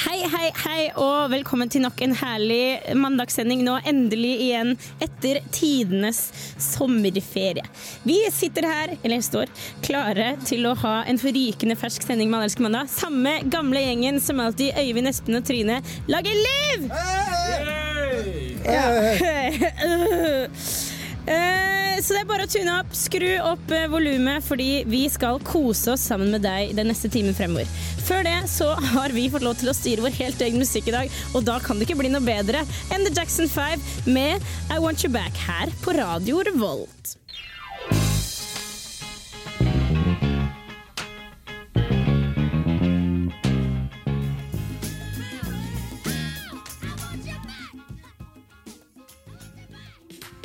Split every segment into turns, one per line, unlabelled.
Hei, hei, hei, og velkommen til nok en herlig mandagssending nå endelig igjen etter tidenes sommerferie. Vi sitter her, eller står, klare til å ha en forrykende fersk sending med Allelske mandag. Samme gamle gjengen som alltid Øyvind, Espen og Trine lager liv! Eh, Så det er bare å tune opp, skru opp eh, volumet, fordi vi skal kose oss sammen med deg den neste timen fremover. Før det så har vi fått lov til å styre vår helt egen musikk i dag, og da kan det ikke bli noe bedre enn The Jackson 5 med I Want You Back her på Radio Revolt.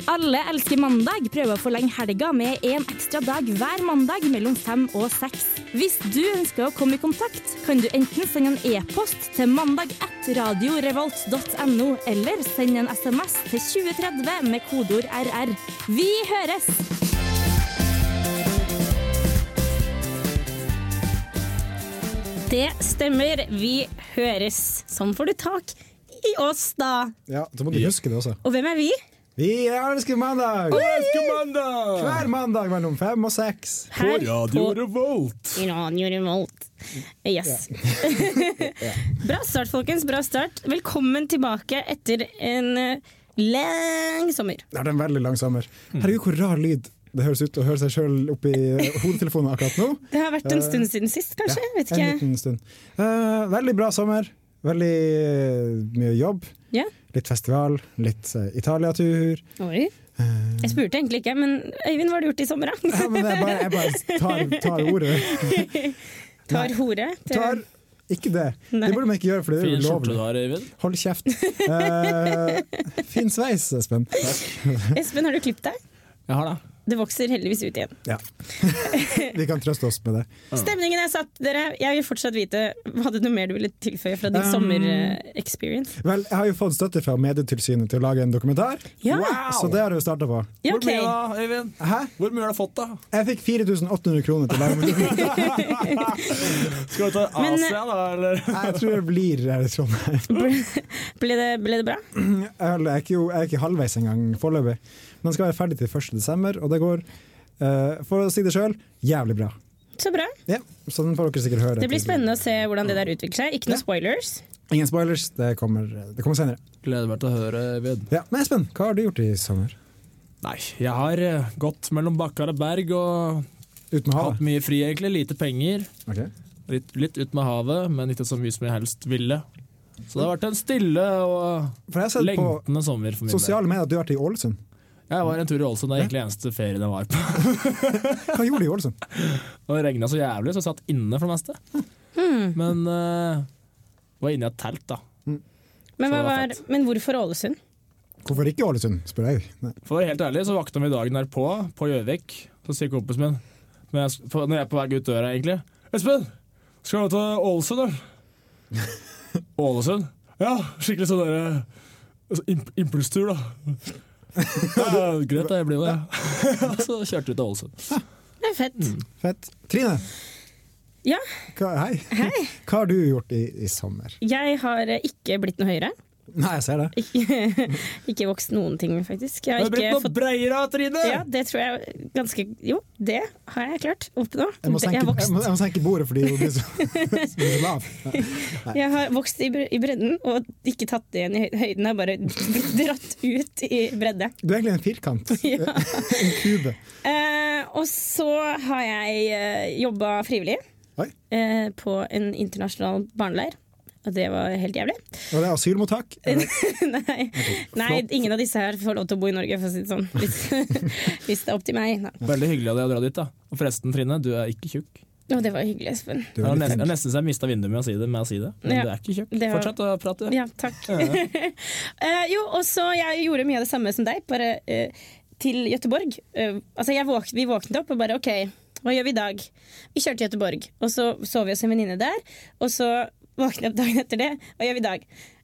Alle elsker mandag. Prøv å forlenge helga med en ekstra dag hver mandag mellom fem og seks. Hvis du ønsker å komme i kontakt, kan du enten sende en e-post til mandag1radiorevolt.no, eller send en SMS til 2030 med kodeord RR. Vi høres!
Det stemmer, vi høres. Sånn får du tak i oss, da.
Ja, så må du huske det også.
Og hvem er vi?
Vi elsker mandag! Hver mandag mellom fem og seks.
Her på
Revolt.
Radio Revolt. Yes. bra start, folkens. Bra start. Velkommen tilbake etter en eh, lang sommer.
Det har vært en veldig lang sommer.
Mm.
Herregud, hvor rar lyd det høres ut å høre seg sjøl oppi eh, hodetelefonen akkurat nå.
Det har vært en stund siden sist, kanskje? Vet
en
ikke.
liten stund. Eh, veldig bra sommer. Veldig eh, mye jobb.
Ja.
Litt festival, litt uh, Italia-tur. Eh,
Oi. Jeg spurte egentlig ikke, men Øyvind, hva har du gjort i sommer, da?
Ja, men jeg bare, jeg bare tar, tar ordet.
Tar hore? til-
Tar ikke det.
Nei.
Det burde man ikke gjøre, for det er
Fin
jo
skjorte
ulovlig.
du har, Øyvind.
Hold kjeft. Eh, fin sveis, Espen.
Espen, har du klippet deg?
Jeg har det.
Det vokser heldigvis ut igjen.
Ja. Vi kan trøste oss med det.
Stemningen er satt, dere. Jeg vil fortsatt vite Hadde du noe mer du ville tilføye fra din eh,
Um,
sommer-experience?
Vel, jeg har jo fått støtte fra Medietilsynet til å lage en dokumentar,
Ja.
så det har jeg jo starta på.
Ja,
Hvor mye
ok.
da, Øyvind?
Hæ?
Hvor mye har du fått, da?
Jeg fikk 4800 kroner til å lage en dokumentar.
Skal du ta
Men,
eh,
Asia, da, eller?
Jeg tror jeg blir her i Trondheim.
Ble det, ble det bra?
Vel, Jeg er ikke, jo- jeg er ikke halvveis engang foreløpig. Men den skal være ferdig til 1. desember, og det går, eh, for å si det sjøl, jævlig bra.
Så bra.
Ja, så den får dere sikkert høre.
Det blir
etter-
spennende å se hvordan det der utvikler seg. Ikke
Ja.
noe spoilers.
Ingen spoilers, det kommer, det kommer senere.
Gleder meg til å høre, Øyvind.
Ja, men Espen, hva har du gjort i sommer?
Nei, jeg har eh, gått mellom bakkar og berg og
Uten havet?
hatt mye fri, egentlig. Lite penger.
Ok.
Litt, litt ut med havet, men ikke så mye som jeg helst ville. Så det har vært en stille og
For jeg har sett på
lengtende sommer for min del.
sosiale medier at du har vært i Ålesund.
Jeg var en tur i Ålesund, det er egentlig eneste ferien jeg var på.
Hva gjorde du i Ålesund?
Og det regna så jævlig, så jeg satt inne for det meste.
Hmm.
Men uh, var inne i et telt, da.
Men,
Så
hva
det var
var, men hvorfor Ålesund?
Hvorfor ikke Ålesund, spør jeg. Nei.
For å være helt ærlig så vakta vi dagen derpå, på Gjøvik. Så sier kompisen min, når jeg, for- når jeg er på vei ut døra egentlig Espen, skal du til Ålesund, eller? Ålesund? Ja, skikkelig sånn derre altså, imp impulstur, da. Ja, greit, da. Jeg blir med, jeg. så kjørte vi til Ålesund.
Det er fett.
Fett. Trine,
Ja,
hva, hei. Hva har du gjort i, i sommer?
jeg har eh, ikke blitt noe høyere.
Nei, jeg ser det.
Ikke, ikke vokst noen ting, faktisk. Jeg har
Du har blitt
ikke
noe
fått
breiere, Trine!
ja, det tror jeg ganske Jo, det har jeg klart. Opp nå.
Jeg må
Jeg
senke,
har
jeg må,
vokst,
jeg må senke bordet fordi hun blir så, hun blir så lav.
jeg har vokst i, bre- i bredden og ikke tatt det igjen i høy- høyden. Jeg har bare blitt dratt ut i bredde.
Du er egentlig en firkant.
Ja.
En kube.
Eh, og så har jeg eh, jobba frivillig
Oi.
eh, på en internasjonal barneleir. Og det var helt jævlig.
Og det er asylmottak. Eller,
Nei. Nei, ingen av disse her får lov til å bo i Norge, for å si det sånn. Hvis, hvis det er opp til meg. Nei.
Veldig hyggelig av deg å dra dit, da. Og forresten, Trine, du er ikke tjukk.
Å, det var hyggelig, Espen.
du
Jeg
er
har
litt
nesten, jeg
flink.
har nesten så jeg mista vinduet med å si det, med å si det. men
Ja.
du er ikke tjukk.
Det var-
Fortsett å prate.
Ja, takk. Eh, jo, og så jeg gjorde mye av det samme som deg, bare eh, til Gøteborg. Eh, altså, jeg våk vi våknet opp og bare OK, Hva gjør vi i dag? Vi kjørte til Gøteborg, og så sov vi hos en venninne der. Og så våknet jeg opp dagen etter det. Hva gjør vi i dag?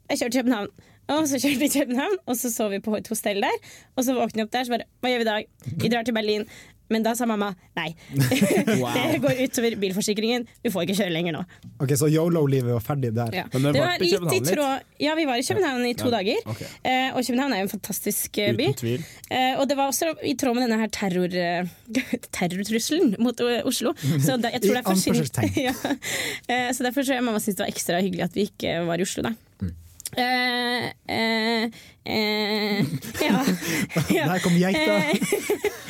Jeg kjører til København. Og så kjørte vi til København, og så sov vi på et hostell der. Og så våknet jeg opp der, så bare Hva gjør vi i dag? Vi drar til Berlin. Men da sa mamma nei. Det går utover bilforsikringen. Du får ikke kjøre lenger nå.
Ok, Så YOLO-livet var ferdig der.
Ja.
Men det var på København litt.
Ja, vi var i København i to
Ja,
dager.
ok.
Eh, og København er jo en fantastisk eh, by.
Uten tvil.
Eh, og det var også i tråd med denne her terror, eh, terrortrusselen mot eh, Oslo. Så da- jeg tror
I
det er forsyn...
anførselstegn.
ja. Eh, så derfor tror jeg mamma syntes det var ekstra hyggelig at vi ikke var i Oslo, da.
Mm.
Eh, eh, eh, ja. ja.
Der kom geita.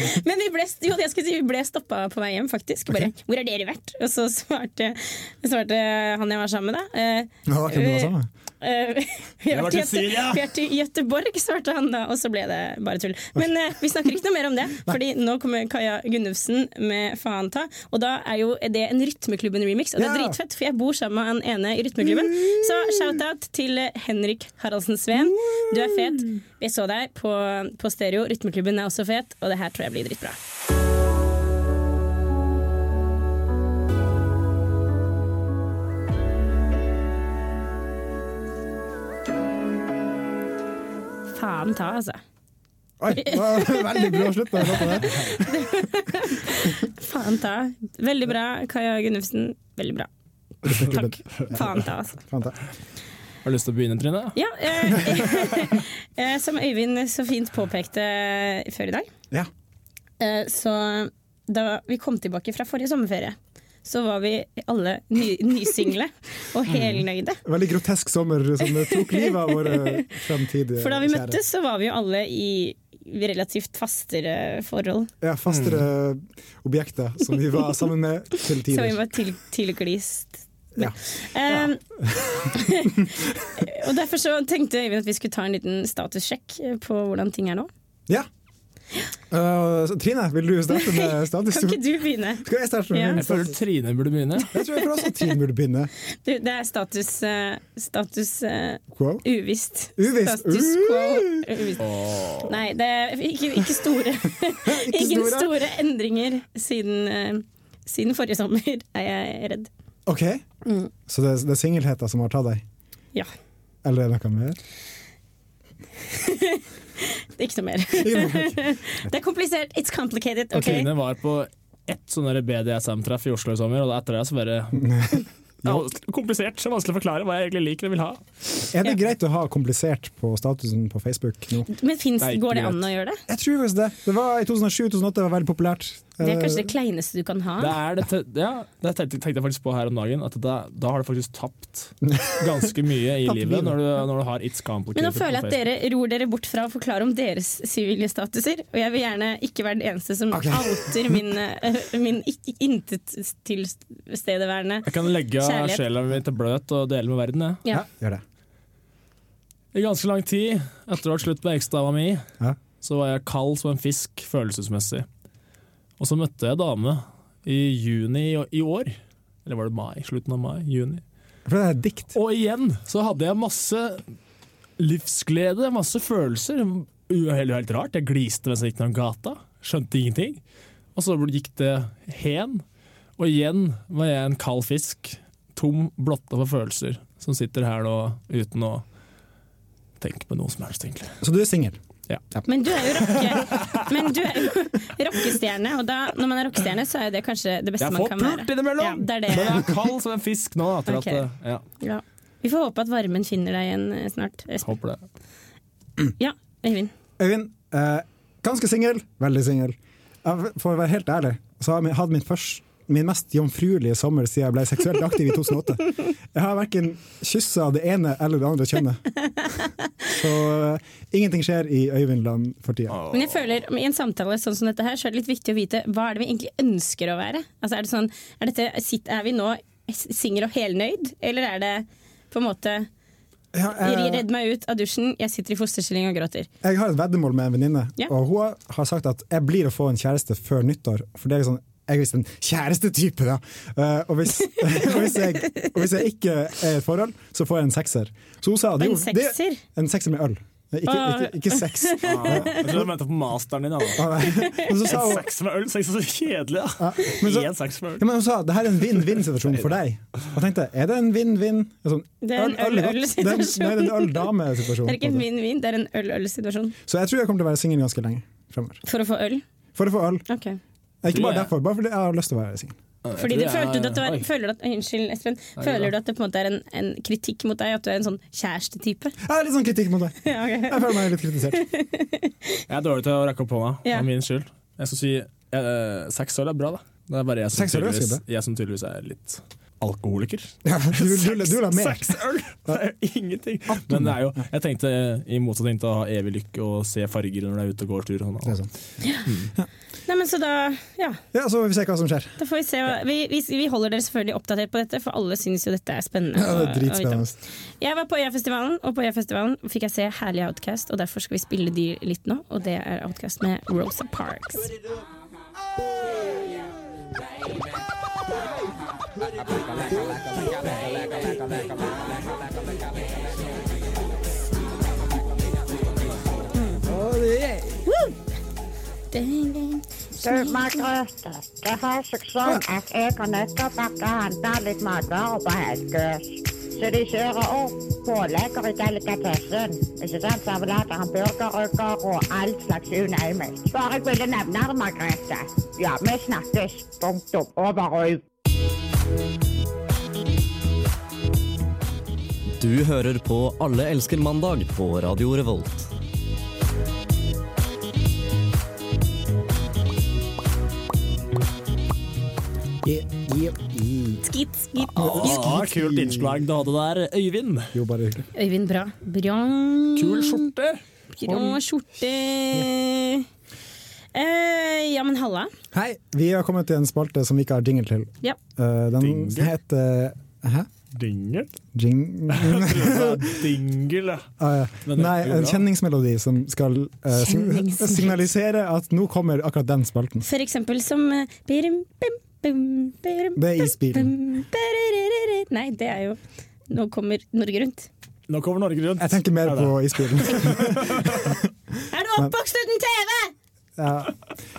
Eh, Men vi ble, jo, jeg skulle si, vi ble stoppa på vei hjem, faktisk. Bare 'Hvor har dere vært?' Og så svarte, svarte han jeg var sammen med, da. eh,
Ja, hvem det var sammen?
Eh, vi har
har
vært i
vært i
Göte-
Syria.
vi har vært i Göteborg, svarte han da, og så ble det bare tull. Men eh, vi snakker ikke noe mer om det, Fordi nå kommer Kaja Gunnufsen med Faen ta. Og da er jo det en Rytmeklubben-remix, og det er
Ja.
dritfett, for jeg bor sammen med han ene i Rytmeklubben. Så shout-out til eh, Henrik Haraldsen Sveen. Du er fet. Jeg så deg på, på stereo. Rytmeklubben er også fet, og det her tror jeg blir dritbra. Faen ta, altså.
Oi, det var veldig bra slutt. på den låten der.
Faen ta. Veldig bra, Kaja Gunnufsen. Veldig bra. Takk. Faen ta, altså.
Fant jeg.
Har du lyst til å begynne, Trine?
Ja, eh, eh, som Øyvind så fint påpekte før i dag,
Ja.
eh, så da vi kom tilbake fra forrige sommerferie, så var vi alle ny, nysingle og
Mm.
helnøyde.
Veldig grotesk sommer som tok livet av våre fremtidige
For da vi
kjære.
møttes, så var vi jo alle i relativt fastere forhold.
Ja, fastere objekter som vi var sammen med
Så
til
Mm. vi
tider.
var til, tilglist.
Ja.
Eh, og derfor så tenkte Øyvind at vi skulle ta en liten statussjekk på hvordan ting er nå.
ja. Uh, så Trine, vil du starte med status?
Kan ikke du begynne?
Skal jeg starte med
Ja.
min
Jeg føler
status?
Trine burde begynne.
Jeg tror jeg for også Trine burde begynne.
Du, det er status, eh, status eh,
Wow.
uvisst.
Uvisst.
Status quo.
Uh!
Uvisst. Nei, det er ikke, ikke store Ingen
store.
store endringer siden, eh, siden forrige sommer, er jeg redd.
OK, så det, det er singelheten som har tatt deg?
Ja.
Eller er det noe mer?
Det er ikke noe mer.
Ikke noe mer.
Det er komplisert. It's complicated.
Og
ok?
Trine var på ett sånn der BDSM-treff i Oslo i sommer, og da etter det så bare ja, Komplisert. så Vanskelig å forklare hva jeg egentlig liker og vil ha.
Er det greit å ha komplisert på statusen på Facebook nå?
Men finnes,
Nei,
går det
greit.
an å gjøre det?
Jeg tror faktisk det. Det var I 2007-2008 var veldig populært. Eh,
Det er kanskje det kleineste du kan ha.
Det er det, te- ja, det tenkte, tenkte jeg faktisk på her om dagen, at da, da har du faktisk tapt ganske mye i
Tapt
livet
livet.
når du, når du har It's Complicated.
Men nå føler jeg
på
at dere ror dere bort fra å forklare om deres sivile statuser. Og jeg vil gjerne ikke være den eneste som
Ok.
outer min, eh, min ikke- intettilstedeværende.
Facebook. Jeg kan legge
Kjærlighet.
sjela mi til bløt og dele med verden, jeg.
Ja.
Ja, gjør det.
I ganske lang tid, etter det var slutt med eksdama mi,
Ja.
så var jeg kald som en fisk følelsesmessig. Og så møtte jeg ei dame i juni i- i år. Eller var det mai? Slutten av mai? Juni.
For det er et dikt.
Og igjen så hadde jeg masse livsglede, masse følelser. U- Helt, helt rart. Jeg gliste mens jeg gikk gjennom gata. Skjønte ingenting. Og så gikk det hen. Og igjen var jeg en kald fisk. Tom, blotta for følelser. Som sitter her nå uten å tenke på noe som helst, egentlig.
Så du er singel.
Men du er jo rocke, men du er jo rockestjerne, og da, når man er rockestjerne, så er jo det kanskje det beste
Jeg
man
får
kan
pult Sånn,
være. Ja,
innimellom!
det er det.
Men jeg er kald som en fisk nå. Etter
Ok.
at, eh, ja,
Ja. Vi får håpe at varmen finner deg igjen eh, snart. Espen.
håper det.
Ja, Øyvind.
Øyvind, eh, ganske singel. Veldig singel. Jeg- For å være helt ærlig, så har jeg hatt min, først, min mest jomfruelige sommer siden jeg ble seksuelt aktiv i 2008. Jeg har verken kyssa det ene eller det andre kjønnet. Så eh, ingenting skjer i Øyvind Land for tida.
Men jeg føler i en samtale sånn som dette her, så er det litt viktig å vite hva er det vi egentlig ønsker å være. Altså, er, det sånn, er, dette, sitt- er vi nå singel og helnøyd, eller er det på en måte
Ja, eh,
Redd meg ut av dusjen, jeg sitter i fosterstilling og gråter.
Jeg har et veddemål med en venninne,
Ja.
og hun har sagt at jeg blir å få en kjæreste før nyttår. For det er liksom, jeg er visst en kjærestetype, da. Eh, og, hvis, og, hvis jeg, og hvis jeg ikke er i et forhold, så får jeg en sekser. Så hun sa
En
det-
sekser?
Det, en sekser med øl. Eh, Ikke,
Ah.
ikke, ikke sex.
Ah, Jeg tror jeg mente på masteren din. Da.
Ah, nei. Men så sa hun
Sex med øl, sex er så kjedelig. Da.
ja, men så,
Én sex med
Ja,
øl.
men hun sa det her er en vinn-vinn-situasjon for deg. Og jeg tenkte, er det en vinn-vinn? Det er Sånn,
Det er en øl-øl-situasjon.
Det er en- Nei, det er en øl-dame-situasjon.
Det er ikke en
på en måte.
vinn-vin, det er en øl-øl-situasjon.
Så jeg tror jeg kommer til å være singel ganske lenge fremover.
For å få øl.
For å få øl. Eh,
Ok.
Ikke bare
Ja.
derfor, bare fordi jeg har lyst til å være singel.
Fordi du
Jeg tror jeg-
følte du at du er,
Oi.
føler du at, Unnskyld, Espen.
Nei,
Føler
ja.
du at det på en måte er en, en kritikk mot deg, at du er en sånn kjærestetype?
Jeg har litt sånn kritikk mot deg.
Ja, ok.
Jeg føler meg litt kritisert.
Jeg er dårlig til å rekke opp hånda. Det
Ja.
er min skyld. Jeg skal si eh, seks øl er bra, da. Det er bare jeg som,
Seks øl er
tydeligvis,
skrevet.
jeg som tydeligvis er litt alkoholiker.
Ja, du, vil- du, vil- du vil ha mer.
Seks øl! Det er jo ingenting. Men det er jo, jeg tenkte i motsetning til å ha evig lykke og se farger når du er ute og går tur. og
Det er
Sånn.
sant.
Nei, men så da, ja,
Ja, så får vi se hva som skjer.
da får vi se. hva- Vi, vi, vi holder dere selvfølgelig oppdatert på dette, for alle syns jo dette er spennende.
Ja,
å-
det er
å vite om.
dritspennende.
Jeg var på Øyafestivalen, og på Øyafestivalen fikk jeg se herlige Outcast, og derfor skal vi spille de litt nå, og det er Outcast med Rosa Parks. Woo! Ding, ding.
Du, Margrethe, det har seg sånn at jeg og Nøtterbakke handler litt matvarer på Helgøs. Så de kjører opp pålegger i delikatessen. Ikke sant? Servelater, hamburgerrygger og all slags unøymel. Bare jeg ville nevne det, Margrethe. Ja, vi snakkes. Punktum. Over oh. og ut.
Du hører på Alle elsker mandag på Radio Revolt.
Yeah, yeah, yeah.
Skit, skit.
Ah, kult innslag du hadde der, Øyvind.
Jo, bare hyggelig.
Øyvind, bra. Bra.
Kul skjorte.
Grå skjorte. Eh, ja, men halla.
Hei, vi har kommet til en spalte som vi ikke har jingle til.
Ja.
Eh, Den
Jingle?
heter Hæ?
Dingel?
Jing...
Dingel, ja.
Ah, ja.
Men det
Nei,
er jo
en
bra.
kjenningsmelodi som skal eh, sign-
Kjenningsmelodi.
signalisere at nå kommer akkurat den spalten.
For eksempel som eh, birim, bim, bim, birim,
Det er
bim,
isbilen.
bim, bererere. Nei, det er jo Nå kommer Norge rundt.
Nå kommer Norge rundt.
Jeg tenker mer
Er det?
på isbilen.
Er du oppvokst uten TV?!
Ja.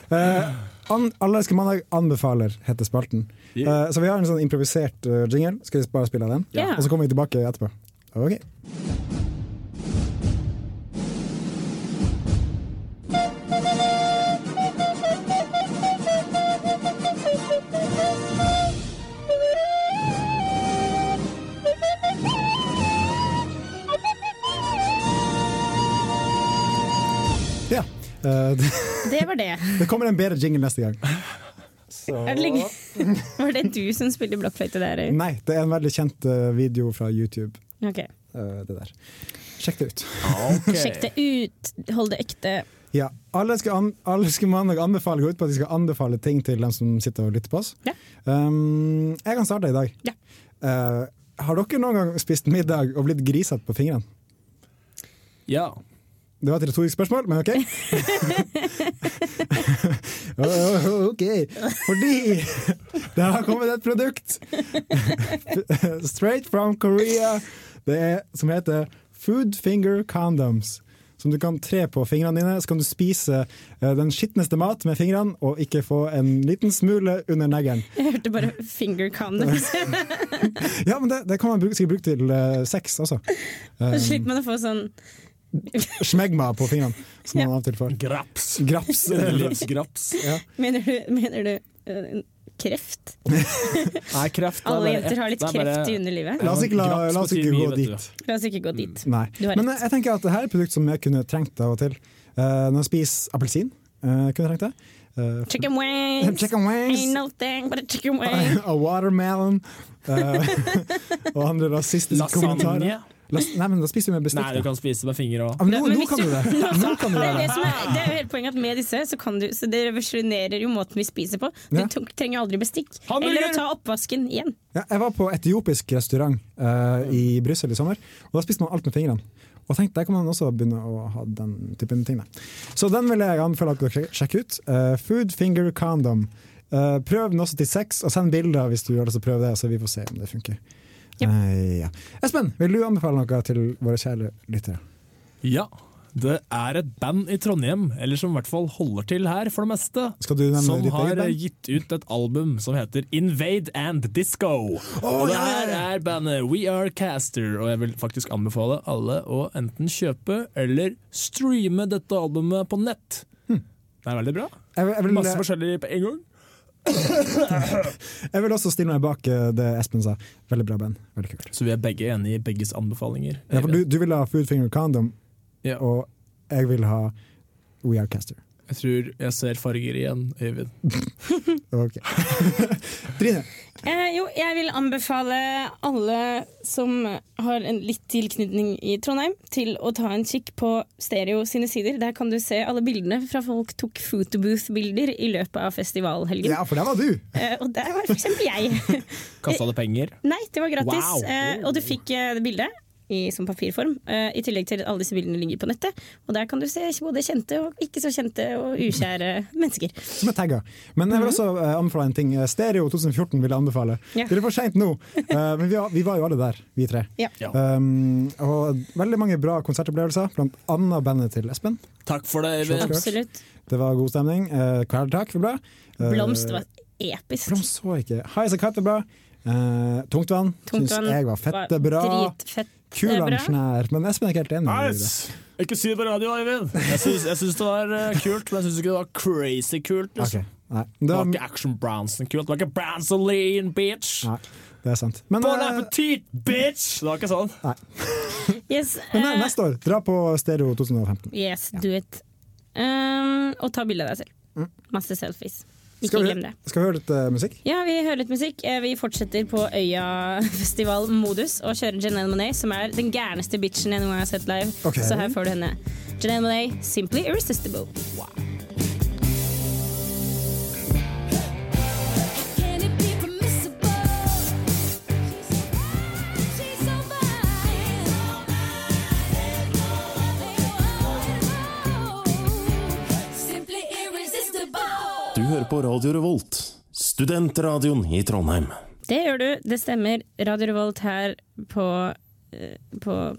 Eh, an, alle elsker mandag anbefaler, heter spalten.
Yeah.
Eh, så vi har en sånn improvisert eh, jingle. Skal vi bare spille av den?
Ja.
Og så kommer vi tilbake etterpå. Ok. Ja. Eh, det,
Det var det.
det kommer en bedre jingle neste gang.
Er det lenge? Var det du som spilte blokkfløyte der? Øy?
Nei, det er en veldig kjent eh, video fra YouTube.
Ok.
eh, det der. Sjekk det ut.
Ok.
Sjekk det ut. Hold det ekte.
Ja, alle skal, an alle skal mandag anbefale går ut på at de skal anbefale ting til dem som sitter og lytter på oss.
Ja.
Um, jeg kan starte i dag.
Ja.
Eh, har dere noen gang spist middag og blitt grisete på fingrene?
Ja.
Det var et retorisk spørsmål, men OK. Åh, OK. Fordi det har kommet et produkt straight from Korea Det er, som heter Food Finger Condoms. Som du kan tre på fingrene dine, så kan du spise eh, den skitneste mat med fingrene og ikke få en liten smule under neglen.
Jeg hørte bare finger condoms.
Ja, men det, det kan man bruke, sikkert bruke til eh, sex også. Eh,
Så slipper man å få sånn
Smegma på fingrene, som man av og til får.
Graps.
Graps.
Underlivsgraps.
Mener du, mener du øh, kreft?
Nei, kreft er
Alle
bare
jenter har
ett.
litt
Det er
kreft
bare-
i underlivet.
La oss ikke, la,
Graps
la oss
betyr
ikke
mye,
gå
vet du.
dit.
La oss ikke gå dit.
Nei.
Du har
Men eh, jeg, jeg tenker at det her er et produkt som jeg kunne trengt av og til. Uh, når jeg spiser appelsin, eh, kunne jeg trengt det. Eh,
Chicken wings!
chicken wings,
Ain't no thing but a chicken wing.
a watermelon eh, og andre rasistiske kommentarer.
Lasagne.
Las nei, men da spiser vi med bestikk.
Nei, du kan spise med fingre òg.
da. Ja, men nå,
Men
nå
hvis
kan
du-
du det! Nå kan du
Det er
det.
det som er, det er jo hele poenget at med disse så kan du Så det revolusjonerer jo måten vi spiser på. Du
Ja.
tok- trenger aldri bestikk.
Hamburger!
Eller å ta oppvasken igjen.
Ja, jeg var på etiopisk restaurant eh, i Brussel i sommer, og da spiste man alt med fingrene. Og tenkte, Der kan man også begynne å ha den typen ting. Da. Så den vil jeg anbefale at dere sjekker ut. Eh, food finger condom. Eh, prøv den også til sex, og send bilder hvis du har lyst til å prøve det. Så vi får se om det funker.
Yep.
Eh, ja. Espen, vil du anbefale noe til våre kjære lyttere?
Ja. Det er et band i Trondheim, eller som i hvert fall holder til her for det meste,
Skal du nevne
som
ditt eget
har
band?
gitt ut et album som heter Invade and Disco. og det her er bandet We Are Caster, og jeg vil faktisk anbefale alle å enten kjøpe eller streame dette albumet på nett. Det er veldig bra.
Jeg, vil- Hm. jeg, vil,
Masse forskjellig på en gang.
jeg vil også stille meg bak eh, det Espen sa. Veldig bra band. Veldig kult.
Så vi er begge enige i begges anbefalinger.
Ja, for du, du vil ha Food Finger Condom,
Ja.
og jeg vil ha We Are Caster.
Jeg tror jeg ser farger igjen, Øyvind.
Ok. Trine,
Eh, jo, jeg vil anbefale alle som har en litt tilknytning i Trondheim, til å ta en kikk på Stereo sine sider. Der kan du se alle bildene fra folk tok photobooth-bilder i løpet av festivalhelgen.
ja, for der var du!
Eh, og der var for eksempel jeg.
Kasta det penger?
Nei, det var gratis.
Wow.
Eh, og du fikk eh, det bildet. I, som papirform, eh, i tillegg til at alle disse bildene ligger på nettet. Og der kan du se både kjente og ikke så kjente og ukjære mennesker.
Som er tagga. Men jeg vil også eh, anbefale en ting. Stereo 2014 vil jeg anbefale.
Mhm. Ja.
Det er for seint nå, eh, men vi var, vi var jo alle der, vi tre.
Ja.
Ja.
Um, og veldig mange bra konsertopplevelser, blant annet bandet til Espen.
Takk for det,
Øyvind. Takk.
Absolutt.
Det var god stemning. Uh, Kvelertak var bra. Eh,
Blomst var episk.
Blomst så jeg ikke. High as a kite var bra. Eh, Tungtvann syns
Tungtvann
jeg var fette bra.
Dritfette bra.
Kulansjen her, men Espen er ikke helt enig. i det.
Nice! Ikke si det på radio, Eivind. Jeg syns, jeg syns det var eh, kult, men jeg syns ikke det var crazy kult. Liksom.
Ok, Um, Nei, det,
Det var
var,
ikke Action Bronson kult. Det var ikke Bransoline, bitch!
nei, det er sant. Men,
Bon
eh,
appetit, bitch! Det var ikke sånn.
Yes,
men nei,
eh,
neste år, dra på Stereo 2015.
yes do it. Um, og ta bilde av deg selv. Masse selfies. Ikke
Mm. Skal vi,
glem det.
skal vi høre litt eh, musikk?
Ja, Vi hører litt musikk. Eh, Vi fortsetter på Øya-festival-modus og kjører Janelle Monáe, som er den gærneste bitchen jeg noen gang har sett live.
Ok.
Så her får du henne. Janelle Monáe, 'Simply Irresistible'.
Can it be permissible? She's so fine. Simply irresistible.
Du hører på Radio Revolt, studentradioen i Trondheim.
Det gjør du. Det stemmer. Radio Revolt her på eh, På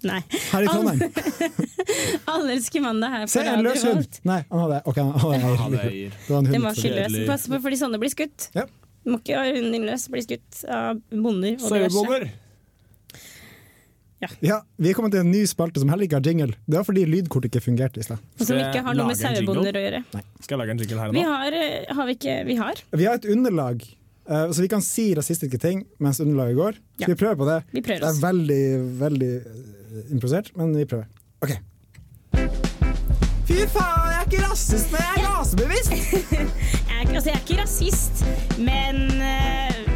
Nei.
Her i Trondheim.
Alle elsker mandag her
Se,
på
en
Radio
løs hund!
Revolt.
Nei, han hadde Ok, han hadde eier.
hadde eier.
Det var en
Den
hund.
var ikke løs.
Kjedelig.
Pass på, fordi sånne blir skutt.
Ja.
Du må ikke ha hunden din løs. Blir skutt av bonder og diverse.
Sauebommer!
Ja, vi er kommet til en ny spalte som heller ikke har jingle. Det var fordi lydkortet ikke fungerte i stad.
Og som ikke har noe med
Skal jeg lage en jingle?
sauebonder å gjøre.
Skal jeg lage en jingle her
Vi
nå?
har, eh, har vi ikke Vi har.
Vi har et underlag, eh, så vi kan si rasistiske ting mens underlaget går. Skal
Ja.
vi prøve på det?
Vi prøver
det er
oss.
veldig, veldig eh, improvisert, men vi prøver. OK. Fy faen, jeg er ikke rasist, men jeg er rasebevisst!
Jeg er ikke, altså, jeg er ikke rasist, men eh,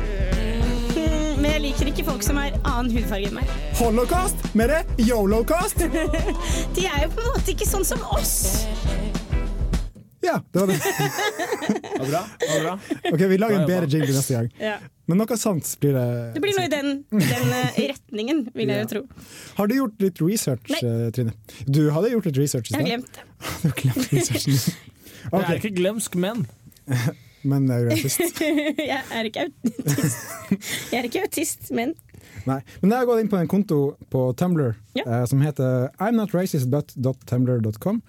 Men jeg liker ikke folk som har annen hudfarge enn meg.
Holocaust, mer yolocaust!
De er jo på en måte ikke sånn som oss.
Ja, det var det.
Det var bra. Det var bra.
Ok, Vi lager en
Bra
bedre
jobba.
jingle neste gang.
Ja.
Men noe sant blir det.
Det blir noe i den, den eh, retningen, vil jeg jo tro.
Har du gjort litt research,
Nei.
eh, Trine? Du hadde gjort litt research i
Jeg har
stad.
glemt det.
Du har glemt researchen.
Jeg er
Ok,
ikke glemsk, men
men eh, det er jo rasist.
Jeg er ikke autist. Jeg er ikke autist, men
Nei. Men jeg har gått inn på en konto på Tumblr
Ja.
eh, som heter imnotracistbut.tumblr.com,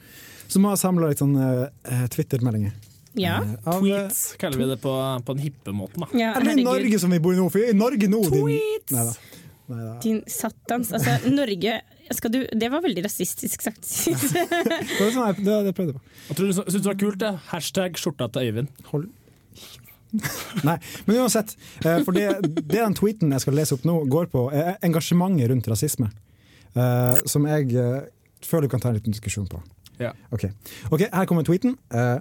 som har samla litt sånn eh, Twitter-meldinger.
ja.
eh, av, eh,
tweets kaller vi det på, på den hippe måten. da.
ja
Eller i
herregud.
Norge som vi bor i nå, for i Norge nå
Tweets!
Din, Neida.
Din satans. Altså, Norge skal du, Det var veldig rasistisk sagt.
Det var sånn jeg, det, det prøvde jeg på.
Jeg tror du syns det var kult, det. Hashtag skjorta til Øyvind.
Hold. Nei, men uansett. eh, For det, det den tweeten jeg skal lese opp nå, går på er engasjementet rundt rasisme. eh, Som jeg eh, føler vi kan ta en liten diskusjon på.
Ja.
Ok, Ok, her kommer tweeten. Eh,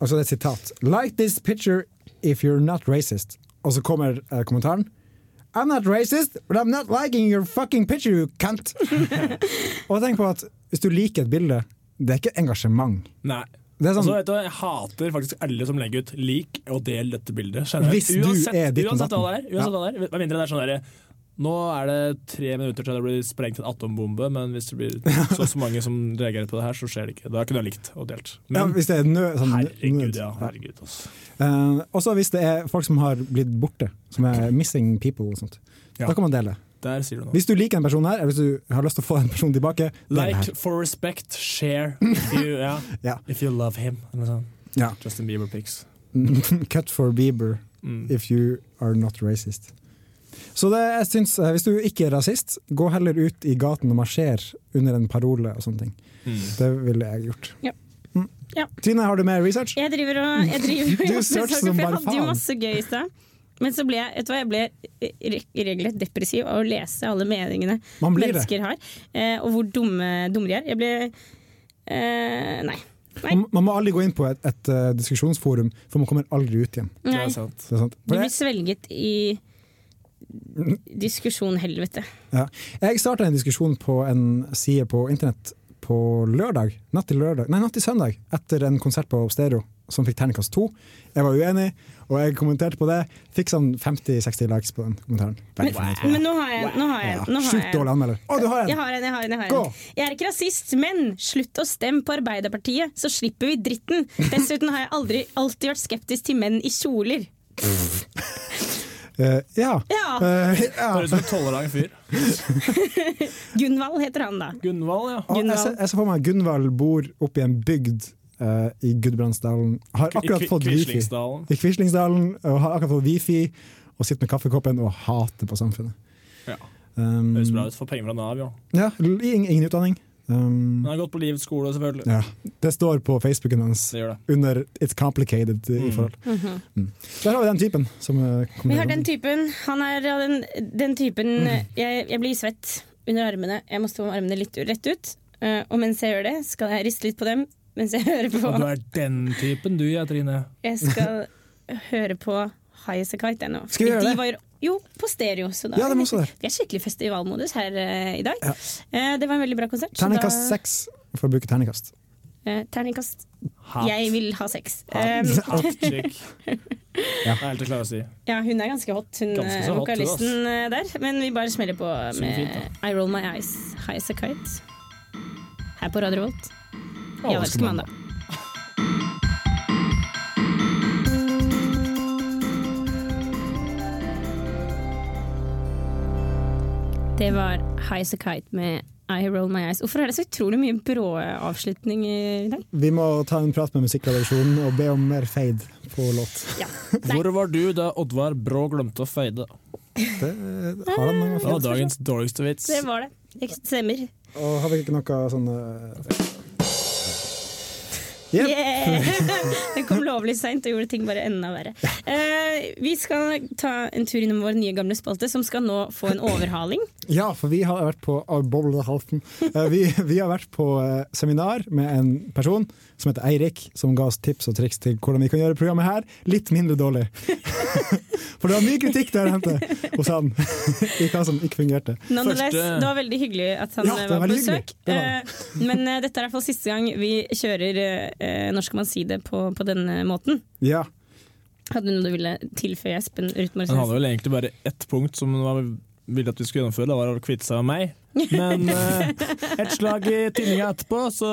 altså det er et sitat. Like this picture if you're not racist. Og så kommer eh, kommentaren. I'm not racist, but I'm not liking your fucking picture, you cunt. og tenk på at hvis du liker et bilde, det er ikke engasjement.
Nei.
Det er sånn-
Altså, vet du, hva, jeg hater faktisk alle som legger ut lik og del dette bildet. generelt.
Hvis du er ditten
uansett hva det er.
datten.
Uansett hva det er. Med mindre det er sånn derre Nå er det tre minutter til det blir sprengt en atombombe, men hvis det blir så og så mange som reagerer på det her, så skjer det ikke. Da kunne jeg likt og delt.
Ja,
Men
hvis det er nø, sånn,
herregud,
nød.
ja. Herregud, altså.
Eh, også hvis det er folk som har blitt borte, som er missing people og sånt.
Ja.
Da kan man dele.
Der sier du noe.
Hvis du liker en person her, eller hvis du har lyst til å få en person tilbake, del her.
Like for respect, share if you, ja.
Ja.
if you love him. Eller noe sånt.
Ja.
Justin Bieber pics.
Cut for Bieber
Mm.
if you are not racist. Så det, jeg syns, eh, hvis du ikke er rasist, gå heller ut i gaten og marsjer under en parole og sånne ting.
Mm.
Det ville jeg gjort.
Ja.
Mm.
Ja.
Trine, har du mer research?
Jeg driver og jeg driver og
Du
jobber med
search
saker,
som
for Jeg
bare
hadde jo
faen.
masse gøy i stad. Men så ble jeg, vet du hva, jeg ble re- regelrett depressiv av å lese alle meningene
Man blir det.
mennesker har. eh, Og hvor dumme, dumme de er. Jeg ble eh, Nei. Nei.
Man, man må aldri gå inn på et, et eh, diskusjonsforum, for man kommer aldri ut igjen.
Det
nei.
er sant.
Det er sant.
Du
For
blir
jeg
svelget i diskusjonhelvete.
ja. jeg starta en diskusjon på en side på internett på lørdag, natt til lørdag, nei, natt til søndag, etter en konsert på Stereo som fikk terningkast to. Jeg var uenig, og jeg kommenterte på det. Fikk sånn 50-60 likes på den kommentaren. Veldig fornøyd med det.
Men nå har jeg nå har jeg,
Ja,
nå har
Sjukt
jeg.
dårlig anmelder. Å, du har
Jeg
en!
har en, jeg har en. Jeg, har
Gå.
en. jeg er ikke rasist, men slutt å stemme på Arbeiderpartiet, så slipper vi dritten. Dessuten har jeg aldri alltid vært skeptisk til menn i kjoler.
Eh, ja.
Ja.
Eh,
Høres
ja.
ut som en tolvårig fyr.
Gunvald heter han da.
Gunvald, ja.
Og Jeg, ser, jeg ser for meg Gunvald bor oppe i en bygd eh, i Gudbrandsdalen. Har
I
akkurat
Kvi-
fått wifi.
Quislingsdalen.
I Quislingsdalen og har akkurat fått wifi og sitter med kaffekoppen og hater på samfunnet.
Ja.
Um,
Høres bra ut. Får penger fra Nav, ja.
ja, l- ingen, ingen utdanning. Um,
Men han har gått på livets skole, selvfølgelig.
ja. Det står på Facebooken hans
Det gjør det.
under 'It's complicated' i forhold. Mm. Der har vi den typen. Som, eh, kommer
Mhm. Vi har den
til-
typen. Han er av den, den typen
Mm.
jeg, jeg blir svett under armene. Jeg må stå med armene litt rett ut. Eh, Og mens jeg gjør det, skal jeg riste litt på dem mens jeg hører
Og du
på
er den typen du, ja, Trine.
Jeg skal høre på High As A Kite jeg nå.
Skal vi gjøre
De
det?
var jo- jo, på stereo. Så da
Ja, det må også der.
Vi er skikkelig festivalmodus her eh, i dag. Eh, det var en veldig bra konsert. så
Terningkast
da-
seks, for å bruke terningkast.
eh, terningkast.
Hat.
Jeg vil ha sex.
Hat.
Eh,
Hot chick. Det er helt til å klare å si.
ja, hun er ganske hot, hun
Ganske
eh,
så hot, hun, ass.
vokalisten eh, der. Men vi bare smeller på med
fint,
I Roll My Eyes, High As A Kite. Her på Radio Volt. Jeg elsker mandag. Det var High As A Kite med I Roll My Eyes. Hvorfor er det så utrolig mye brå avslutning i dag?
Vi må ta en prat med musikkredaksjonen og be om mer fade på låt.
Hvor var du da Oddvar Brå glemte å feide?
Det eh, har han mange
Det var dagens dårligste vits.
Det var det. Det stemmer.
Og har vi ikke noe sånn eh, Yep.
Yeah! Den kom lovlig seint og gjorde ting bare enda verre. Eh, vi skal ta en tur innom vår nye gamle spalte, som skal nå få en overhaling.
Ja, for vi har vært på ah, boble halten. Eh, Vi, vi har vært på eh, seminar med en person som heter Eirik, som ga oss tips og triks til hvordan vi kan gjøre programmet her litt mindre dårlig. For det var mye kritikk der hente hos han i hva som ikke fungerte.
Nonetheless,
Første-
det var veldig hyggelig at han
Ja,
eh,
det var
var på
veldig hyggelig.
besøk.
Det var det.
Eh, men eh, dette er i hvert fall siste gang vi kjører eh, Når skal man si det på, på denne måten.
Ja.
Hadde du noe du ville tilføye, Espen Ruthmore
Han hadde vel egentlig bare ett punkt som han ville at vi skulle gjennomføre, det var å kvitte seg med meg. Men eh, et slag i tinninga etterå, så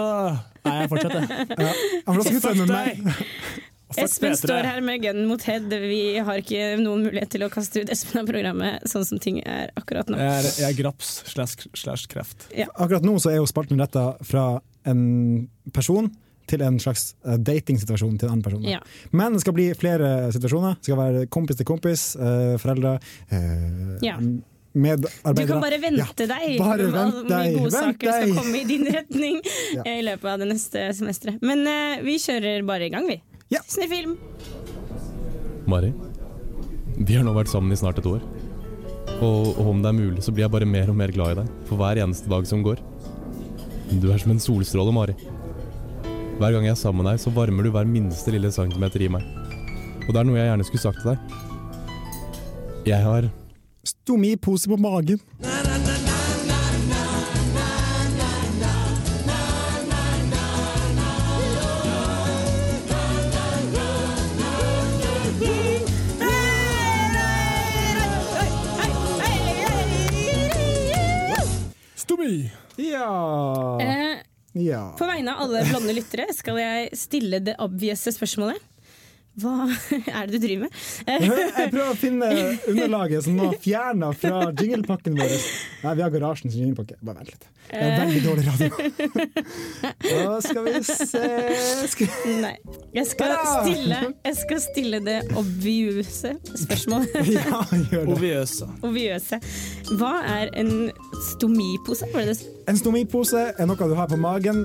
er jeg fortsatt det.
Han vil også kvitte seg
Fuck
med meg.
deg! Fuck
Espen står
P3.
her med gun mot head. Vi har ikke noen mulighet til å kaste ut Espen av programmet sånn som ting er akkurat nå.
Jeg er, jeg er graps slash, slash kreft.
Akkurat nå så er jo spalten retta fra en person til en slags eh, datingsituasjon til en annen person. da.
Ja.
Men det skal bli flere situasjoner. Det skal være kompis til kompis, eh, foreldre, eh,
Ja. Du
medarbeidere.
kan bare vente
Ja,
deg.
Bare
Alle
vent deg.
Gode
Vent
saker skal
deg.
komme i din retning
Ja.
eh, i løpet av det neste semesteret. Men eh, vi kjører bare i gang, vi.
Ja.
Snøfilm.
Mari, vi har nå vært sammen i snart et år. Og, og om det er mulig, så blir jeg bare mer og mer glad i deg for hver eneste dag som går. Du er som en solstråle, Mari. Hver gang jeg er sammen med deg, så varmer du hver minste lille centimeter i meg. Og det er noe jeg gjerne skulle sagt til deg. Jeg har
Stomipose på magen.
Stomi!
Ja.
Eh,
ja.
På vegne av alle blonde lyttere skal jeg stille det obvious spørsmålet. Hva er det du driver med? Eh,
Jeg prøver å finne underlaget som var fjerna fra jinglepakken vår. Nei, vi har garasjens jinglepakke. Bare vent litt. Det er veldig dårlig radio. Da skal vi se skal...
Nei. Jeg skal
Ah!
stille, jeg skal stille det obviuse spørsmålet.
Ja, gjør det.
Oviøse.
Obviøse. Hva er en stomipose? Var det sånn det?
En stomipose er noe du har på magen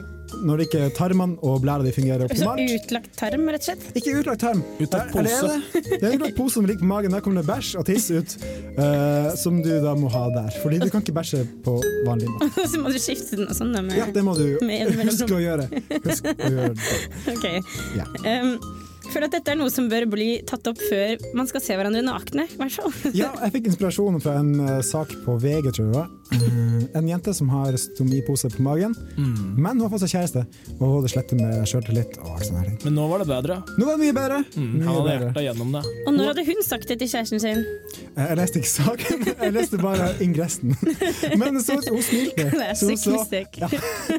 når ikke tarmene og blæra di fungerer
Så
optimalt.
utlagt tarm, rett og slett?
Ikke utlagt tarm.
Utlagt
Der- eller er det? Det er en utlagt pose som ligger på magen. Der kommer det bæsj og tiss ut, eh, som du da må ha der. Fordi du kan ikke bæsje på vanlig måte.
Så må du skifte den og sånn. da, Med,
Ja, det må du
Med en mellomrom.
huske å gjøre. Husk å gjøre det.
Ok.
Ja.
Em, føler at dette er noe som bør bli tatt opp før man skal se hverandre nakne, i hvert fall.
Ja, jeg fikk inspirasjon fra en eh, sak på VG, tror jeg. det var. Eh, en jente som har stomipose på magen,
Mm.
men hun har fått seg kjæreste. Og det sletter med sjøltillit og alt sånne her ting.
Men nå var det bedre.
Nå var det mye bedre!
Mm, han
Mye
hadde
bedre.
hjertet gjennom det.
Og når hadde hun sagt det til kjæresten sin?
Eh, Jeg leste ikke saken, jeg leste bare ingressen. Men så, hun smilte. Så hun
Classic
så,
mistake.
ja,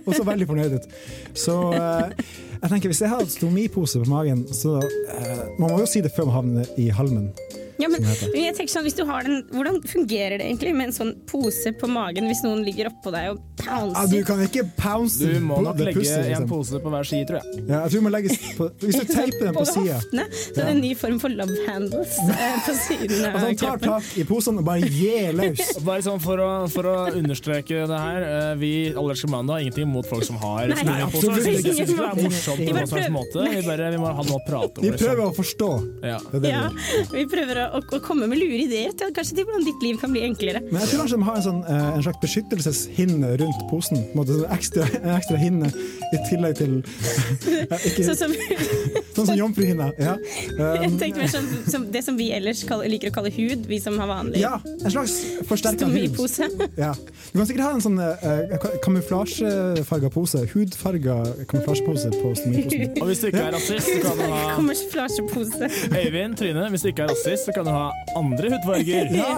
hun så veldig fornøyd ut. Så eh, jeg tenker, hvis jeg har stomipose på magen, så eh, Man må jo si det før man havner i halmen.
Ja, men
Som heter.
jeg tenker sånn, hvis du har den, Hvordan fungerer det egentlig med en sånn pose på magen hvis noen ligger oppå deg og
Ah, du
pouncer?
kan ikke pounce
Du må nok
the
legge
pussy,
en
liksom.
pose på hver side, tror jeg.
Ja, jeg tror man legger s- på, Hvis du teiper den på
Både
sida
hoftene. Så er det en ny form for love handles eh, på siden av
Altså, han tar
kroppen.
tak i posen og bare gir løs.
Bare sånn for å, for å understreke det her. eh, Vi Allergiske mandag har ingenting mot folk som har
Nei,
stomipose.
absolutt
Vi
ikke.
synes ikke det er morsomt
Vi
på
bare
noen slags
prøver-
måte. Vi, bare, vi må ha noe å prate om.
Vi
liksom.
prøver å forstå.
Ja.
Det er det vi
Ja,
gjør.
vi prøver å, å, å komme med lure ideer til, kanskje til hvordan ditt liv kan bli enklere.
Men jeg tror kanskje de har en, sånn, eh, en slags beskyttelseshinne rundt posen. På en måte, sånn ekstra, en ekstra hinne i tillegg til ja, ikke,
Sånn som jeg
Sånn som jomfruhinna. Ja. Um,
tenkte mer sånn som det som vi ellers kaller, liker å kalle hud, vi som har vanlig
ja, en slags forsterka hud.
stomipose.
Ja. Du kan sikkert ha en sånn eh, ka- kamuflasjefarga pose. Hudfarga kamuflasjepose på stomiposen.
Og hvis du ikke er rasist, så kan du ha
Kamuflasjepose.
Øyvind, Trine, hvis du ikke er rasist, så kan du ha andre hudfarger.
Ja.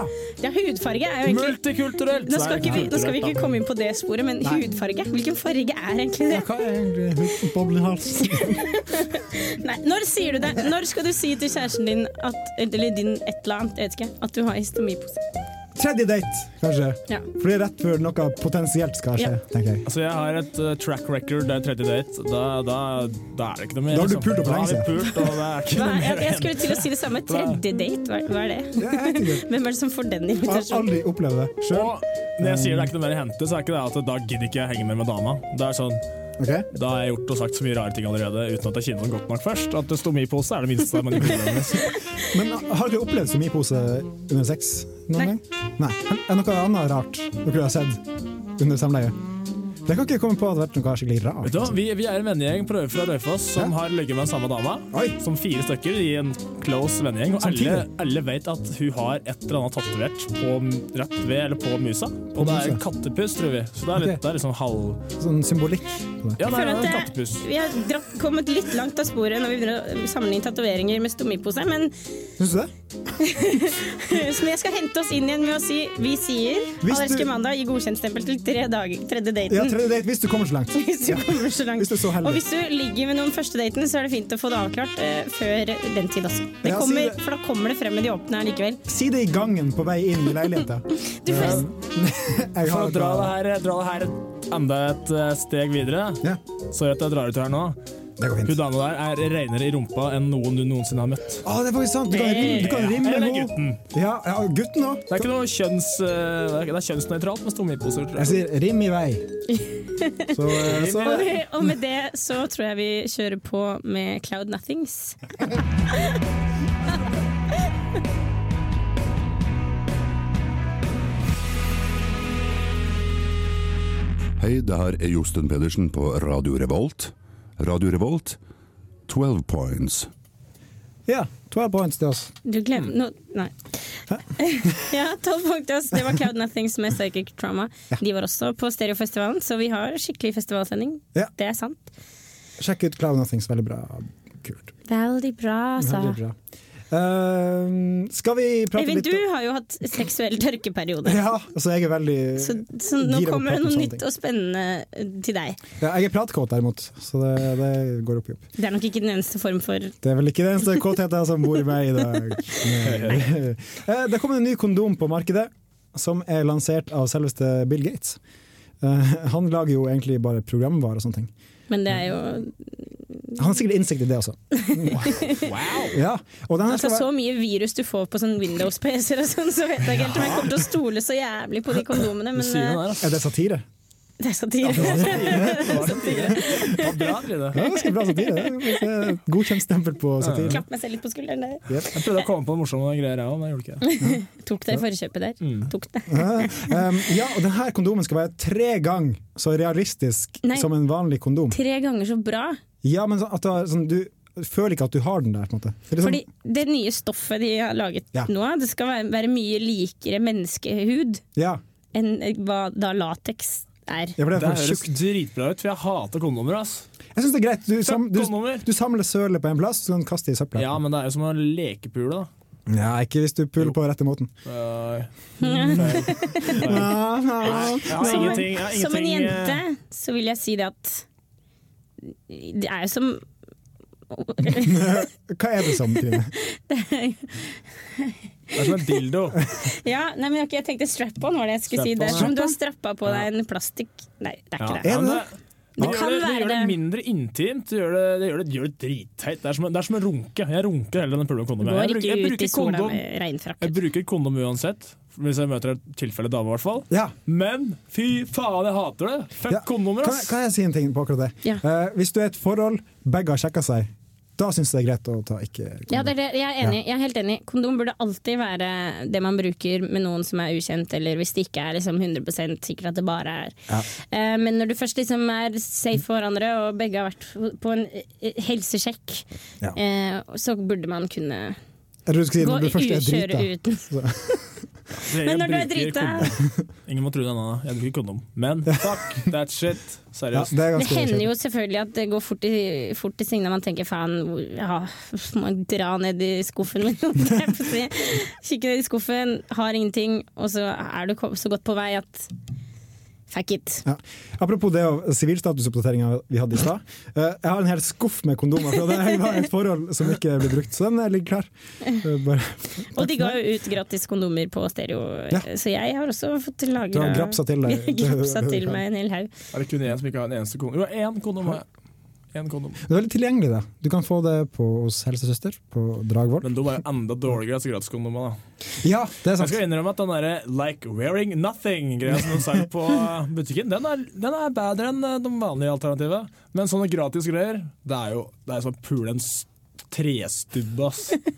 Ja, hudfarge er jo egentlig
Multikulturelt!
nå skal, ikke vi, nå skal vi ikke komme inn på det sporet, men
Nei.
hudfarge? Hvilken farge er egentlig det?
Hva er eh, egentlig boblehals?
Nei, når sier du det? Når skal du si til kjæresten din at, eller din et eller annet, jeg vet ikke, at du har histomipose?
Tredje date, kanskje.
Ja.
For det er rett før noe potensielt skal skje,
Ja.
tenker jeg.
Altså, jeg har et eh, track record der tredje date. Da, da, da er det ikke noe mer.
Da har du
liksom.
pult opp
Da har
lenge
vi pult, og det er ikke
Hva
noe
er, jeg,
mer
jeg skulle til å si det samme. Tredje date, hva, hva er det?
Ja, jeg vet ikke.
Hvem er sånn. det som får den
Jeg har
invitasjonen?
aldri opplevd det sjøl.
Og når jeg sier det er ikke noe mer å hente, så er ikke det at da gidder ikke jeg henge mer med dama. Det er sånn, Da har jeg gjort og sagt så mye rare ting allerede uten at jeg kjenner den godt nok først. At stomipose er det minste man ikke gjør.
Men har dere opplevd så mye pose under sex noen
Nei.
gang? Nei. Er det noe annet rart dere har sett under samleie? Jeg kan ikke komme på at det har vært noe skikkelig
Vet du hva?
rart.
Vi, vi er en vennegjeng på Røy- fra Raufoss som
Hæ?
har ligget med den samme dama.
Oi.
Som fire stykker i en close vennegjeng. Og alle,
Samtidig?
alle vet at hun har et eller annet tatovert på m- rett ved eller på musa. Og det er
musa.
en kattepus, tror vi. Så det er litt,
Ok.
det er liksom halv
Sånn symbolikk. på det.
Ja, det er
føler at
en
det-
kattepus.
Vi har dratt, kommet litt langt av sporet når vi begynner å sammenligne tatoveringer med stomipose, men eh,
Syns du det?
som jeg skal hente oss inn igjen med å si vi sier
Hvis
Allerske
du-
mandag gir godkjentstempel til tre dager, tredje
Ja,
daten.
tredje date hvis du kommer så langt.
Hvis du kommer så langt.
Hvis du er så heldig.
Og hvis du ligger med noen første daten, så er det fint å få det avklart eh, før den tid også. Det
Ja, si
kommer,
det.
for da kommer det frem med de åpne her likevel.
Si det i gangen på vei inn i leiligheta.
Du, forresten,
Jeg
For å
har
dra det her, dra det her enda et eh, steg videre
Ja,
Sorry at jeg drar ut her nå.
det går
Hun
fint.
dama der er reinere i rumpa enn noen du noensinne har møtt.
Å, det er faktisk sant! Du kan rim- du kan rimme
Eller
henne.
gutten.
Ja, ja, gutten òg.
Det er ikke noe kjønns... eh, det er ikke- det er kjønnsnøytralt med stomiposer. tror jeg.
Jeg sier rim i vei. Så, eh, så
og, og med det så tror jeg vi kjører på med Cloud Nothings.
Hei, det her er Josten Pedersen på Radio Revolt. Radio Revolt, 12 points.
ja, 12 points til oss.
Du
Mm.
glemmer no, Nei. ja, tolv punkter. ass. Det var Cloud Nothings med Psychic Trauma. De var også på Stereofestivalen, så vi har skikkelig festivalsending.
Ja.
Det er sant.
Sjekk ut Cloud Nothings, veldig bra. Kult.
Veldig bra, sa
Veldig bra. Eh, skal vi prate
Eivind, du
litt
har jo hatt seksuell tørkeperiode.
Ja, altså jeg er veldig
Så, så nå
gira på å
kommer det
prate om
noe
sånne
nytt
ting.
og spennende eh, til deg.
ja, Jeg er pratkåt derimot, så det, det går opp i opp.
Det er nok ikke den eneste form for
Det er vel ikke det eneste kåtheten som bor i meg i dag. Nei. Eh, Det kommer en ny kondom på markedet, som er lansert av selveste Bill Gates. Eh, Han lager jo egentlig bare programvare og sånne ting.
Men det er jo
Mm. Han har sikkert innsikt i det også. Ja, og den her
altså,
skal
Så
være
mye virus du får på sånn Windows-PC-er og sånn, så vet jeg ikke helt om jeg kommer til å stole så jævlig på de kondomene, men eh,
altså.
Er det satire?
det er satire.
Det var bra, Trine.
Ja, ganske bra satire. Det er et Godkjent stempel på satire.
Klapp meg selv litt på skulderen der.
Yep.
Jeg prøvde å komme på noen morsomme greier, jeg òg, men jeg gjorde ikke det.
Tok det forkjøpet der.
Mm.
Tok det.
Um, ja, og denne kondomen skal være tre ganger så realistisk
Nei.
som en vanlig kondom.
Tre ganger så bra.
Ja, men sånn at du, har- sånn, du føler ikke at du har den der, på en måte. Det er litt sånn-
Fordi det nye stoffet de har laget
Ja.
nå, det skal være, være mye likere menneskehud
sånn, ja.
enn hva da lateks er.
Ja, for det er
Det
for
høres
tjukt.
dritbra ut, for jeg hater kondomer. ass.
Jeg synes det er greit. Du, sam,
Fuck kondomer.
du, du samler sølet på en plass, så kan du kaste det i søpla.
Ja, men det er jo som å lekepule, da.
Ja, ikke hvis du puller på rette måten.
Nei.
Ja, ja.
Jeg har
Som,
ingenting- jeg har
som en
ingenting, eh,
jente så vil jeg si det at det er jo som
Hva er det som, Trine?
Det er som en dildo.
Ja, nei, men ok, jeg tenkte strap-on var det jeg skulle si.
Strap-on,
Det er
ja.
som du har strappa på deg en plastikk Nei, det er
Ja,
ikke det.
Er
men
det
Det,
Det
gjør
kan
det, det
være
gjør det
det.
mindre intimt. Det gjør det, det, gjør det, det, gjør det dritteit. Det er som, en- det er som en runke. Jeg runker heller enn å pulle en
Du
kondom. Jeg
går
bruker,
ikke
jeg
ut i
bruker
sola
kondom
med regnfrakk.
Jeg bruker kondom uansett, hvis jeg møter et tilfelle dame, i hvert fall.
Ja.
Men fy faen, jeg hater det! Fuck
Ja,
kondomer,
Kan,
ass!
kan jeg si en ting på akkurat det?
Ja.
Eh, hvis du er i et forhold, begge har sjekka seg, da syns jeg det er greit å ta ikke
Ja, det er det. Jeg, er enig. jeg er helt enig. Kondom burde alltid være det man bruker med noen som er ukjent, eller hvis det ikke er liksom 100 sikkert at det bare er. Eh, Men når du først liksom er safe for hverandre, og begge har vært på en eh, helsesjekk,
Ja.
eh, så burde man kunne
Jeg trodde du skulle si
gå
når du først er
ukjøre
drita.
uten.
Det-
Men
jeg
når du er
bruker
drita
kondom. Ingen må tro det ennå, jeg bruker kondom. Men fuck that shit.
Ja,
Seriøst.
det er
Det
ganske
hender
irriterende.
jo selvfølgelig at det går fort i, fort i svingene. Man tenker faen, hvor- ja, må jeg dra ned i skuffen min. holdt jeg på å si. Kikke ned i skuffen, har ingenting, og så er du ko- så godt på vei at fuck it.
ja. Apropos det og sivilstatusoppdateringa vi hadde i stad. Eh, jeg har en hel skuff med kondomer fra da jeg var i et forhold som ikke ble brukt, så den ligger klar. Eh, bare.
Og de ga jo ut gratis kondomer på stereo,
Ja.
så jeg har også fått
Du
lagra
har grapsa til deg.
grapsa til meg en hel haug.
Er det kun én som ikke har en eneste kondom? Jo, én kondom har jeg. Én kondom.
Det er veldig tilgjengelig, da. Du kan få det på, hos helsesøster på Dragvoll.
Men de er jo enda dårligere enn gratiskondomene. da.
Ja, det er
Jeg
sant.
skal innrømme at den derre 'like wearing nothing'-greia som de sa på butikken, den er, den er bedre enn eh, de vanlige alternativene. Men sånne gratisgreier, det er jo det er som å pule en s- trestubbe, ass. Det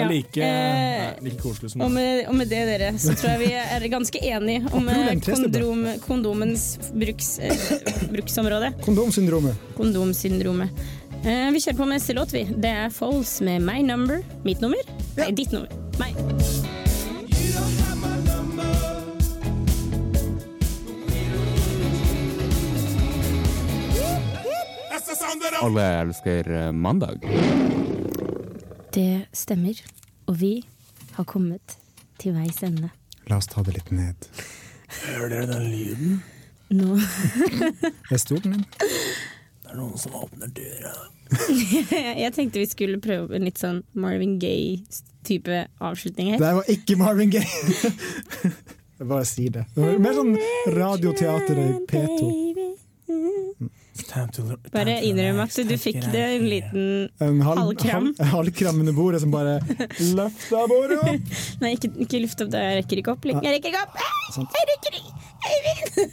Ja,
er like,
eh,
nei, like koselig som
Og med, og med det, dere, så tror jeg vi er ganske enige om
Kul,
eh,
en trestubbe.
kondom, kondomens bruks, eh, bruksområde.
Kondomsyndromet.
Kondomsyndromet. Eh, vi kjører på med neste låt, vi. Det er Foles med My Number. Mitt nummer? Nei, ditt nummer. Meg.
Alle elsker eh, mandag.
Det stemmer. Og vi har kommet til veis ende.
La oss ta det litt ned.
Hører dere den lyden?
Nå
Det er stolen min.
Det er noen som åpner døra.
Jeg tenkte vi skulle prøve en litt sånn Marvin Gaye-type avslutning
Det
her.
her var ikke Marvin Gaye. Jeg bare sier det. Det var mer sånn radioteater i P2.
Bare innrøm at du fikk det en liten
En halv,
Halvkram.
halv- halvkram under bordet som bare løfta bordet opp.
Nei, ikke, ikke luft opp, det. jeg rekker ikke opp. Jeg rekker ikke opp! Jeg rekker ikke!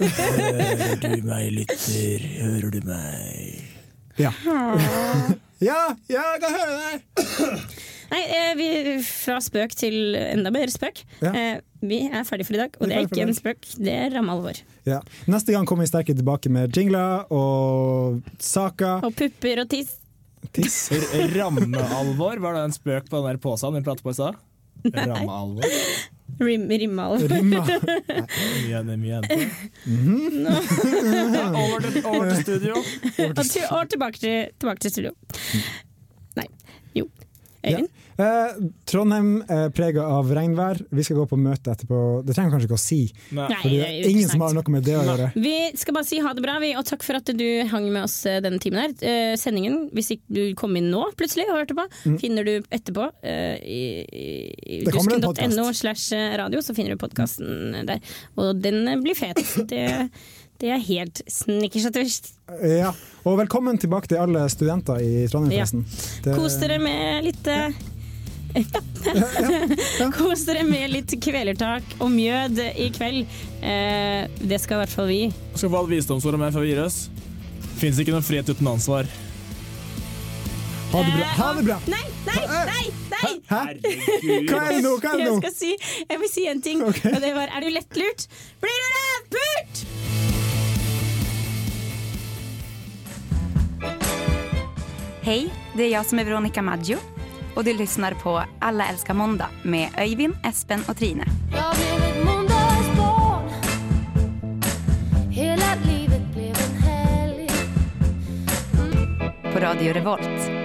Hører du meg, lytter? Hører du meg?
Ja. ja, ja, jeg kan høre deg!
Nei, eh, vi, fra spøk til enda mer spøk.
Ja.
Eh, vi er ferdig for i dag, og
Vi
det
er
er
ferdig for i
ikke en
dag.
spøk, det er ramme alvor.
Ja. Neste gang kommer vi sterkere tilbake med jingler og saker.
Og pupper og tiss.
Tiss.
Rammealvor, var det en spøk på den der posen vi pratet på i stad? Rammealvor.
Rim, rimme alvor.
Rimma.
Mye av det, mye av det. Ja, Over til- over til studio.
Og, til, og tilbake, til, tilbake til studio. Nei, jo.
Mm. Ja.
Øyvind?
Eh, Trondheim er prega av regnvær. Vi skal gå på møte etterpå. Det trenger jeg kanskje ikke å si,
Nei.
for
Nei,
det
det
er
er
ingen som har
interessant.
noe med det å gjøre.
Vi skal bare si ha det bra, vi, og takk for at du hang med oss eh, denne timen her. Eh, sendingen, hvis ikke du kom inn nå plutselig og hørte på,
Mm.
finner du etterpå eh, i, i
Det kommer en podcast.
dusken.no slash eh, radio, så finner du podkasten der. Og den eh, blir fet. Det, det er helt snickers at du
Ja, og velkommen tilbake til alle studenter i Trondheim,
Ja.
forresten.
Kos dere med litt eh, Kos dere med litt kvelertak og mjød i kveld. Eh, det skal i hvert fall vi.
Skal få alle visdomsordet med før vi gir oss. Fins ikke noen frihet uten ansvar.
Ha det bra. Ha det bra.
Nei, nei, nei! nei.
Hva er det nå? Hva er det nå?
Jeg, skal si, jeg vil si en ting, og det var Er du lettlurt? Blir du rævpult?
Hej, det är jag som är Veronica Maggio och du lyssnar på Alla älskar måndag med Öyvind, Espen och Trine.
Jag blev ett måndagsbarn Hela livet blev en helg
På Radio Revolt.